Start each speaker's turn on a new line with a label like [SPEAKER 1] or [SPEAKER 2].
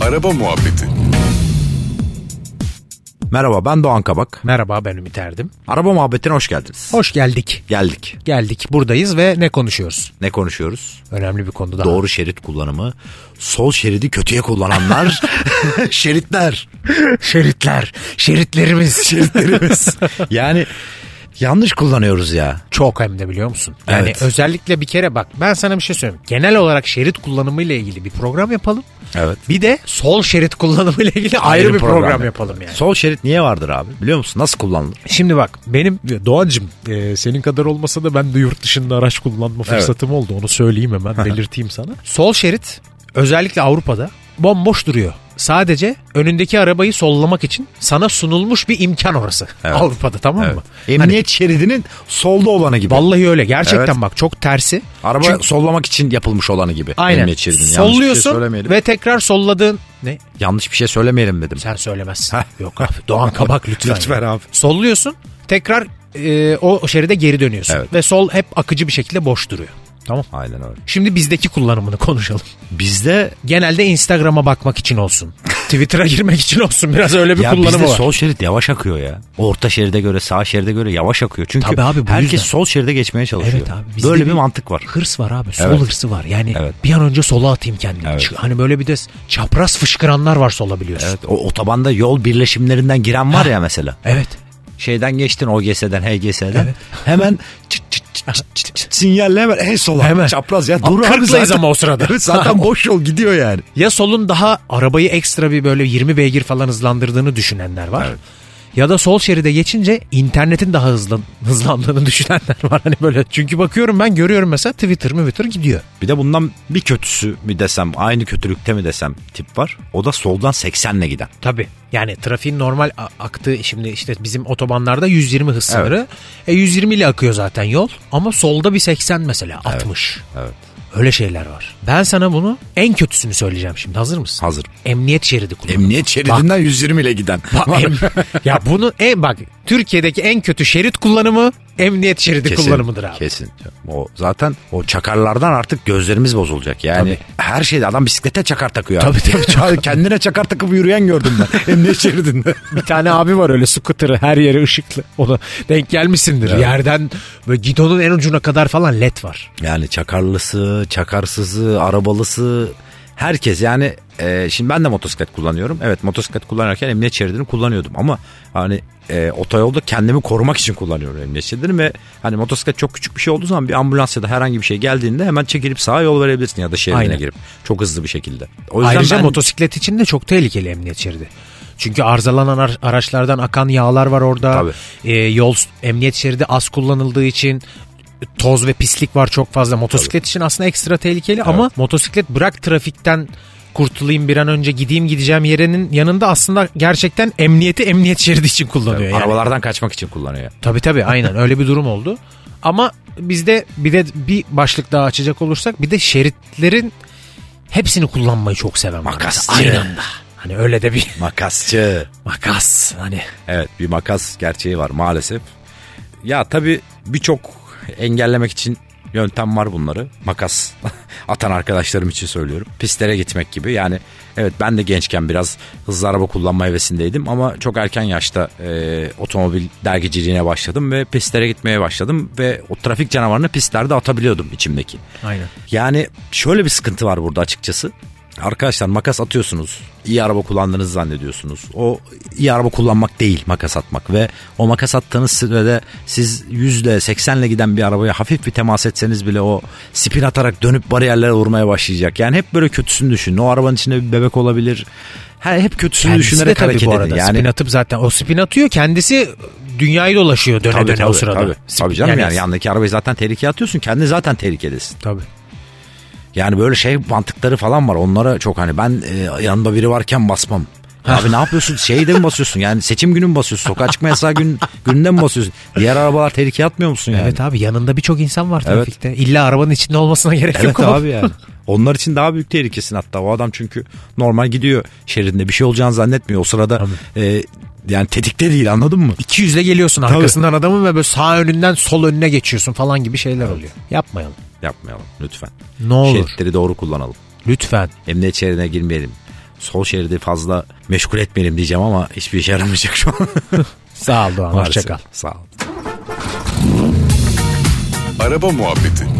[SPEAKER 1] Araba Muhabbeti
[SPEAKER 2] Merhaba ben Doğan Kabak.
[SPEAKER 3] Merhaba ben Ümit Erdim.
[SPEAKER 2] Araba muhabbetine hoş geldiniz.
[SPEAKER 3] Hoş geldik.
[SPEAKER 2] Geldik.
[SPEAKER 3] Geldik buradayız ve ne konuşuyoruz?
[SPEAKER 2] Ne konuşuyoruz?
[SPEAKER 3] Önemli bir konu daha.
[SPEAKER 2] Doğru şerit kullanımı. Sol şeridi kötüye kullananlar. şeritler.
[SPEAKER 3] Şeritler. Şeritlerimiz.
[SPEAKER 2] Şeritlerimiz. yani yanlış kullanıyoruz ya.
[SPEAKER 3] Çok hem de biliyor musun? Yani
[SPEAKER 2] Evet.
[SPEAKER 3] özellikle bir kere bak ben sana bir şey söyleyeyim. Genel olarak şerit kullanımıyla ilgili bir program yapalım.
[SPEAKER 2] Evet.
[SPEAKER 3] Bir de sol şerit kullanımıyla ilgili ayrı, bir program, yapalım yani.
[SPEAKER 2] Sol şerit niye vardır abi? Biliyor musun? Nasıl kullanılır?
[SPEAKER 3] Şimdi bak benim Doğancım e, senin kadar olmasa da ben de yurt dışında araç kullanma fırsatım oldu. Onu söyleyeyim hemen belirteyim sana. Sol şerit özellikle Avrupa'da bomboş duruyor. Sadece önündeki arabayı sollamak için sana sunulmuş bir imkan orası.
[SPEAKER 2] Evet.
[SPEAKER 3] Avrupa'da tamam mı? Hani
[SPEAKER 2] Emniyet şeridinin solda olanı gibi.
[SPEAKER 3] vallahi öyle gerçekten
[SPEAKER 2] Evet.
[SPEAKER 3] bak çok tersi.
[SPEAKER 2] Araba
[SPEAKER 3] Çünkü-
[SPEAKER 2] sollamak için yapılmış olanı gibi.
[SPEAKER 3] aynen
[SPEAKER 2] Emniyet şeridinin. Yanlış bir şey
[SPEAKER 3] solluyorsun
[SPEAKER 2] söylemeyelim.
[SPEAKER 3] ve tekrar solladığın ne?
[SPEAKER 2] Yanlış bir şey söylemeyelim dedim.
[SPEAKER 3] Sen söylemezsin. Yok abi Doğan Kabak lütfen.
[SPEAKER 2] Lütfen
[SPEAKER 3] ya.
[SPEAKER 2] abi.
[SPEAKER 3] Solluyorsun tekrar e, o şeride geri dönüyorsun.
[SPEAKER 2] Evet.
[SPEAKER 3] Ve sol hep akıcı bir şekilde boş duruyor. Tamam.
[SPEAKER 2] Aynen öyle.
[SPEAKER 3] Şimdi bizdeki kullanımını konuşalım.
[SPEAKER 2] Bizde
[SPEAKER 3] Genelde Instagram'a bakmak için olsun. Twitter'a girmek için olsun. Biraz öyle bir
[SPEAKER 2] ya
[SPEAKER 3] kullanımı
[SPEAKER 2] bizde
[SPEAKER 3] var.
[SPEAKER 2] sol şerit yavaş akıyor ya. Orta şeride göre sağ şeride göre yavaş akıyor. Çünkü
[SPEAKER 3] Tabii abi, bu
[SPEAKER 2] herkes
[SPEAKER 3] yüzden.
[SPEAKER 2] sol şeride geçmeye çalışıyor.
[SPEAKER 3] Evet abi, bizde
[SPEAKER 2] şey Böyle bir,
[SPEAKER 3] bir-
[SPEAKER 2] mantık var.
[SPEAKER 3] Hırs var abi. Sol
[SPEAKER 2] Evet.
[SPEAKER 3] hırsı var. Yani
[SPEAKER 2] Evet.
[SPEAKER 3] bir an önce sola atayım kendimi.
[SPEAKER 2] Evet.
[SPEAKER 3] Çık- Hani böyle bir de çapraz fışkıranlar var sola biliyorsun.
[SPEAKER 2] Evet, o otobanda yol birleşimlerinden giren var ya mesela.
[SPEAKER 3] Evet.
[SPEAKER 2] Şeyden geçtin OGS'den, HGS'den. Hemen çıt çıt çıt çıt çıt çıt sinyalle hemen en sola.
[SPEAKER 3] Hemen.
[SPEAKER 2] Çapraz ya.
[SPEAKER 3] Aa,
[SPEAKER 2] Dur abi
[SPEAKER 3] kırklayız
[SPEAKER 2] zaten-
[SPEAKER 3] ama o sırada.
[SPEAKER 2] Evet zaten boş yol gidiyor yani.
[SPEAKER 3] Ya solun daha arabayı ekstra bir böyle 20 beygir falan hızlandırdığını düşünenler var. Ya da sol şeride geçince internetin daha hızlı hızlandığını düşünenler var. Hani böyle çünkü bakıyorum ben görüyorum mesela Twitter mı Twitter gidiyor.
[SPEAKER 2] Bir de bundan bir kötüsü mi desem, aynı kötülükte mi desem tip var. O da soldan 80'le giden.
[SPEAKER 3] Tabii. Yani trafiğin normal a- aktığı şimdi işte bizim otobanlarda 120 hız sınırı. E 120 ile akıyor zaten yol ama solda bir 80 mesela 60.
[SPEAKER 2] evet.
[SPEAKER 3] Öyle şeyler var. Ben sana bunu en kötüsünü söyleyeceğim şimdi. Hazır mısın?
[SPEAKER 2] Hazır.
[SPEAKER 3] Emniyet şeridi kullan.
[SPEAKER 2] Emniyet şeridinden 120 ile giden.
[SPEAKER 3] Bak, em- ya bunu e bak Türkiye'deki en kötü şerit kullanımı emniyet şeridi kullanımıdır abi.
[SPEAKER 2] Kesin. O zaten o çakarlardan artık gözlerimiz bozulacak. Yani her şeyde adam bisiklete çakar takıyor. abi.
[SPEAKER 3] Tabii, tabii.
[SPEAKER 2] Çakar- Kendine çakar takıp yürüyen gördüm ben. E, Emniyet şeridinde.
[SPEAKER 3] Bir tane abi var öyle scooter'ı her yere ışıklı. Ona denk gelmişsindir. Yerden böyle gidonun en ucuna kadar falan led var.
[SPEAKER 2] Yani çakarlısı, çakarsızı, arabalısı herkes yani e, şimdi ben de motosiklet kullanıyorum. Evet motosiklet kullanırken emniyet şeridini kullanıyordum ama hani e, otoyolda kendimi korumak için kullanıyorum emniyet şeridini ve hani motosiklet çok küçük bir şey olduğu zaman bir ambulans ya da herhangi bir şey geldiğinde hemen çekilip sağa yol verebilirsin ya da şeridine
[SPEAKER 3] Aynen.
[SPEAKER 2] girip çok hızlı bir şekilde. O
[SPEAKER 3] Ayrıca
[SPEAKER 2] ben-
[SPEAKER 3] motosiklet için de çok tehlikeli emniyet şeridi. Çünkü arızalanan ar- araçlardan akan yağlar var orada.
[SPEAKER 2] Tabii.
[SPEAKER 3] Ee, yol emniyet şeridi az kullanıldığı için toz ve pislik var çok fazla. Motosiklet için aslında ekstra tehlikeli ama motosiklet bırak trafikten kurtulayım bir an önce gideyim gideceğim yerenin yanında aslında gerçekten emniyeti emniyet şeridi için kullanıyor. yani.
[SPEAKER 2] arabalardan kaçmak için kullanıyor.
[SPEAKER 3] Tabii tabii aynen öyle bir durum oldu. Ama bizde bir de bir başlık daha açacak olursak bir de şeritlerin hepsini kullanmayı çok seven var.
[SPEAKER 2] Makasçı.
[SPEAKER 3] Mesela Aynı anda. Hani öyle de bir
[SPEAKER 2] Makasçı.
[SPEAKER 3] makas hani.
[SPEAKER 2] Evet bir makas gerçeği var maalesef. Ya tabii birçok engellemek için yöntem var bunları. Makas atan arkadaşlarım için söylüyorum. Pistlere gitmek gibi yani evet ben de gençken biraz hızlı araba kullanma hevesindeydim ama çok erken yaşta e, otomobil dergiciliğine başladım ve pistlere gitmeye başladım ve o trafik canavarını pistlerde atabiliyordum içimdeki.
[SPEAKER 3] Aynen.
[SPEAKER 2] Yani şöyle bir sıkıntı var burada açıkçası. Arkadaşlar makas atıyorsunuz. iyi araba kullandığınızı zannediyorsunuz. O iyi araba kullanmak değil makas atmak ve o makas attığınız sürede siz yüzle seksenle giden bir arabaya hafif bir temas etseniz bile o spin atarak dönüp bariyerlere vurmaya başlayacak. Yani hep böyle kötüsünü düşünün. O arabanın içinde bir bebek olabilir. Her, hep kötüsünü
[SPEAKER 3] Kendisi de
[SPEAKER 2] düşünerek
[SPEAKER 3] tabii
[SPEAKER 2] hareket
[SPEAKER 3] bu
[SPEAKER 2] edin.
[SPEAKER 3] arada
[SPEAKER 2] Yani
[SPEAKER 3] spin atıp zaten o spin atıyor kendisi dünyayı dolaşıyor döne
[SPEAKER 2] Tabii,
[SPEAKER 3] döne o
[SPEAKER 2] tabii,
[SPEAKER 3] sırada.
[SPEAKER 2] Tabii,
[SPEAKER 3] Spin-
[SPEAKER 2] tabii canım yani, yandaki arabayı zaten tehlikeye atıyorsun. Kendi zaten tehlikedesin.
[SPEAKER 3] Tabii.
[SPEAKER 2] Yani böyle şey mantıkları falan var. Onlara çok hani ben e, yanımda biri varken basmam. Abi ne yapıyorsun? Şeyde mi basıyorsun? Yani seçim günü mü basıyorsun? Sokağa çıkma yasağı gün, gününde mi basıyorsun? Diğer arabalar tehlikeye atmıyor musun yani?
[SPEAKER 3] Evet abi yanında birçok insan var
[SPEAKER 2] Evet.
[SPEAKER 3] trafikte. İlla arabanın içinde olmasına gerek
[SPEAKER 2] Evet
[SPEAKER 3] yok. ama.
[SPEAKER 2] abi yani. Onlar için daha büyük tehlikesin hatta. O adam çünkü normal gidiyor şeridinde. Bir şey olacağını zannetmiyor. O sırada e, yani tetikte değil anladın mı?
[SPEAKER 3] 200'le geliyorsun arkasından adamın ve böyle sağ önünden sol önüne geçiyorsun falan gibi şeyler oluyor. Yapmayalım.
[SPEAKER 2] Yapmayalım lütfen.
[SPEAKER 3] Ne olur.
[SPEAKER 2] Şey, Şeritleri doğru kullanalım.
[SPEAKER 3] Lütfen.
[SPEAKER 2] Emniyet şeridine girmeyelim. sol şeridi fazla meşgul etmeyelim diyeceğim ama hiçbir işe yaramayacak şu an.
[SPEAKER 3] Sağ ol Doğan.
[SPEAKER 2] Maalesef.
[SPEAKER 3] Hoşçakal.
[SPEAKER 2] Sağ ol.
[SPEAKER 1] Araba Muhabbeti